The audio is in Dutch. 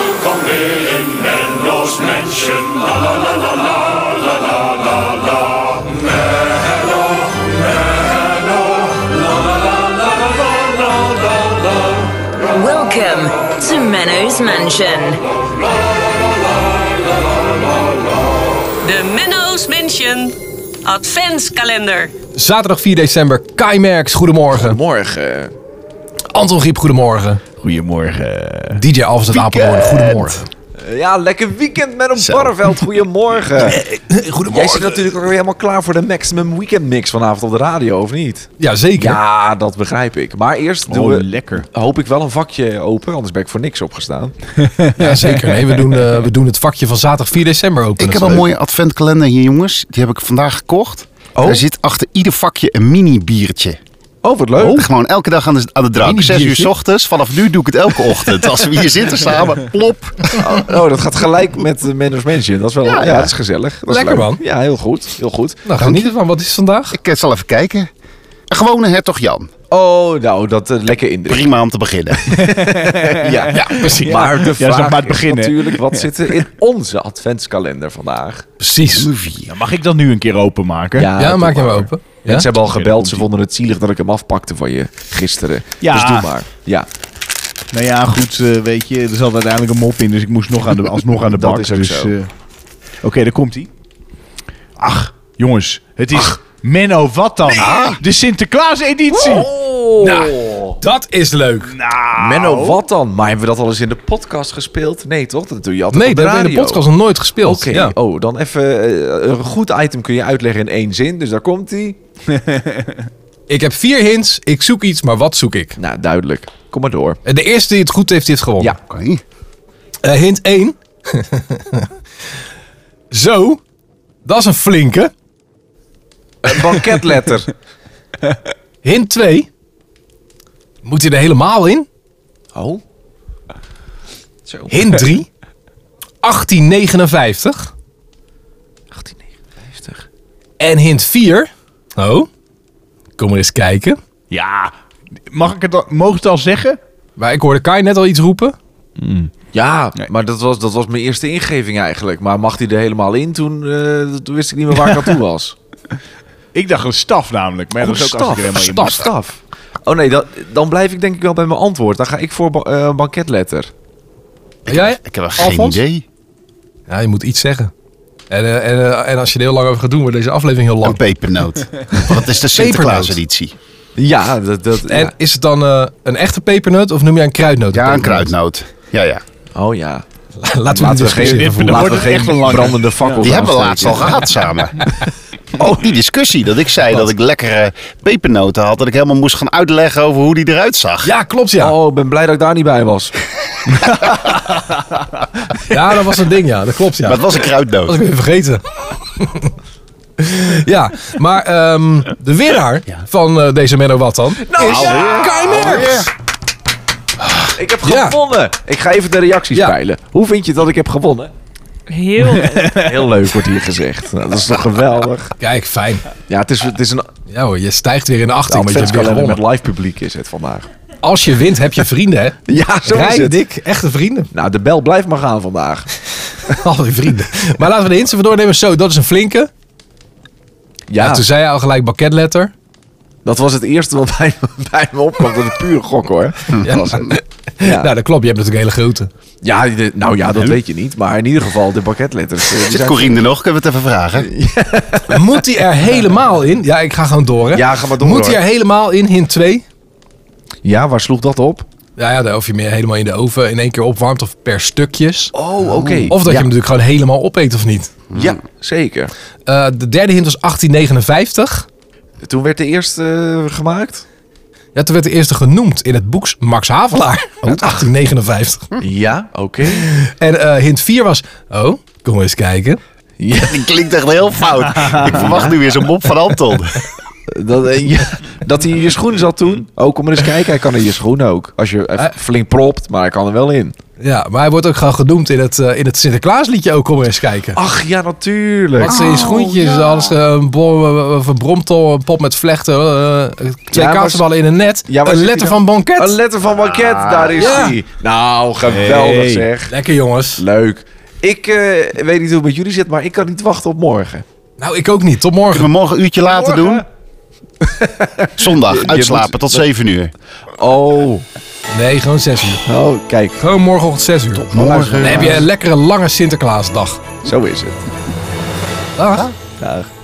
hier in Menlo's Mansion. La la la la la la la la la. Menlo, Menlo, la la la la la la la la. Welcome to Menno's Mansion. De Menno's Mansion Adventskalender. Zaterdag 4 december, Kai Merks, goedemorgen. Morgen. Anton Giep, goedemorgen. Goedemorgen. DJ Alves uit Apeldoorn, goedemorgen. Eh, Ja, lekker weekend met een Barveld. Goedemorgen. Jij zit natuurlijk ook weer helemaal klaar voor de Maximum Weekend Mix vanavond op de radio, of niet? Ja, zeker. Ja, dat begrijp ik. Maar eerst doen Oh, we, lekker. hoop ik wel een vakje open, anders ben ik voor niks opgestaan. Ja, zeker. Nee, we, doen, eh, we doen het vakje van zaterdag 4 december open. Dat Ik heb is een leuk. mooie adventkalender hier, jongens. Die heb ik vandaag gekocht. Oh. Er zit achter ieder vakje een mini-biertje. Oh, wat leuk. Gewoon elke dag aan de, aan de drank. Mini-biertje? Zes uur 's ochtends. Vanaf nu doe ik het elke ochtend. Als we hier zitten samen, plop. Oh, oh, dat gaat gelijk met de Menno's Mansion. Dat is wel, ja, Ja, ja. dat is gezellig. Dat is Lekker, leuk. man. Ja, heel goed. Heel goed. Nou, geniet ervan. Wat is het vandaag? Ik eh, zal even kijken. Een gewone hertog Jan. Oh, nou, dat eh, lekker in de... Prima om te beginnen. Ja, ja precies. Maar de vraag maar het begin, natuurlijk, wat zit er in onze adventskalender vandaag? Precies. Nummer vier. Nou, Mag ik dat nu een keer openmaken? Ja, doe maak je maar. maar open. Ja? Mensen hebben al Oké, gebeld. dan Ze komt-ie. vonden het zielig dat ik hem afpakte van je gisteren. Ja. Dus doe maar. Ja, Nou ja, goed, eh, weet je, er zat uiteindelijk een mop in, dus ik moest nog aan de, alsnog aan de Dat bak. is ook dus, zo. eh, Oké, daar komt hij. Ach, jongens, het is Menno wat dan? Ah. De Sinterklaas-editie. Oh. Nou, Dat is leuk. Nou, Menno, wat dan? Maar hebben we dat al eens in de podcast gespeeld? Nee, toch? Dat doe je altijd Nee, op de dat hebben radio. we in de podcast nog nooit gespeeld. Oké, Ja. oh, dan even eh, een goed item kun je uitleggen in één zin. Dus daar komt hij. Ik heb vier hints. Ik zoek iets, maar wat zoek ik? Nou, duidelijk. Kom maar door. De eerste die het goed heeft, die heeft gewonnen. Ja. Oké. Eh, hint 1. Zo. Dat is een flinke. Een banketletter. Hint 2. Moet hij er helemaal in? oh. Zo. Hint 3. 1859. 1859. En hint 4. Oh. Kom maar eens kijken. Ja, mag ik het al, mogen het al zeggen? Maar ik hoorde Kai net al iets roepen. Ja, Nee. maar dat was, dat was mijn eerste ingeving eigenlijk. Maar mag hij er helemaal in? Toen, eh, toen wist ik niet meer waar ik aan toe was. Ik dacht een staf namelijk, maar ja, Oh, dat is ook als ik er helemaal in staf, mag. staf. Oh nee, dan, dan blijf ik denk ik wel bij mijn antwoord. Dan ga ik voor ba- eh, banketletter. Jij? Ik heb geen Alfons? idee. Ja, je moet iets zeggen. En, eh, en, eh, en als je er heel lang over gaat doen, wordt deze aflevering heel Een lang. pepernoot. Want het is de Sinterklaas-editie. Ja, dat... dat En ja. is het dan eh, een echte pepernoot of noem je een kruidnoot? Ja, een pepernoot? kruidnoot. Ja, ja. Oh ja. Laten we dus niet Laten we discussiëren. geen, Dit- laten wordt we het echt een geen lange. brandende fakkels Die hebben we laatst aansteken. al gehad samen. Oh, die discussie dat ik zei dat ik lekkere pepernoten had. Dat ik helemaal moest gaan uitleggen over hoe die eruit zag. Ja, klopt ja. Oh, ik ben blij dat ik daar niet bij was. Ja, dat was een ding ja. Dat klopt ja. Maar het was een Dat was kruidnoot. ik weer vergeten. ja, maar ehm, de winnaar van eh, deze Menno Wat dan is Kai Merks. Ik heb Ja. gewonnen. Ik ga even de reacties Ja. peilen. Hoe vind je dat ik heb gewonnen? Heel leuk. Heel leuk wordt hier gezegd. Nou, dat is toch geweldig. Kijk, fijn. Ja, het is, het is een Ja hoor, je stijgt weer in de Nou, achting, want je hebt weer adventskalender gewonnen. met live publiek is het vandaag. Als je wint, heb je vrienden, hè? Ja, zo is Rij het. dik, echte vrienden. Nou, de bel blijft maar gaan vandaag. Al die vrienden. Maar laten we de hints even doornemen. Zo, dat is een flinke. Ja, Ja, toen zei hij al gelijk bakketletter. dat was het eerste wat bij, bij me opkwam. Dat is puur gok hoor. Dat was het. Ja. Nou, dat klopt. Je hebt natuurlijk een hele grote. Ja, de- nou ja, dat weet je niet. Maar in ieder geval, de bakketletters. eh, die Zit zijn- Corine er nog? Kunnen we het even vragen? Moet hij er helemaal in? Ja, ik ga gewoon door, hè? Ja, ga maar door, Moet hij hoor. er helemaal in, hint 2? Ja, waar sloeg dat op? Ja, ja, daar of je meer helemaal in de oven in één keer opwarmt of per stukjes. Oh, oké. Of dat je ja, hem natuurlijk gewoon helemaal opeet of niet. Ja, zeker. Eh, de derde hint was 1859. Toen werd de eerste eh, gemaakt? Ja, toen werd de eerste genoemd in het boek Max Havelaar. Uit 1859. Ja, oké. En eh, hint 4 was... Oh, kom eens kijken. Ja, Die klinkt echt heel fout. Ik verwacht nu weer zo'n mop van Anton. dat, eh, ja, dat hij in Eh. je schoen zat toen. Oh, kom maar eens kijken. Hij kan in je schoen ook. Als je even flink propt, maar hij kan er wel in. Ja, maar hij wordt ook gewoon gedoemd in het, eh, in het Sinterklaasliedje ook. Kom maar eens kijken. Ach ja, natuurlijk. Wat ze in schoentjes, alles eh, een, bom, eh, of een bromtol, een pop met vlechten, eh, twee maar- kaasballen in een net, Ja, maar nou- een zit letter hij van banket. Een letter van banket, daar is ja. hij. Nou, geweldig Hey. zeg. Lekker jongens. Leuk. Ik eh, weet niet hoe het met jullie zit, maar ik kan niet wachten op morgen. Nou, ik ook niet. Tot morgen. Kunnen we morgen een uurtje later doen? Morgen? Zondag, moet- uitslapen tot 7 uur. Oh, Nee, gewoon zes uur. oh kijk. Gewoon morgenochtend zes uur. Morgen. Dan heb je een lekkere lange Sinterklaasdag. Zo is het. Dag. Dag.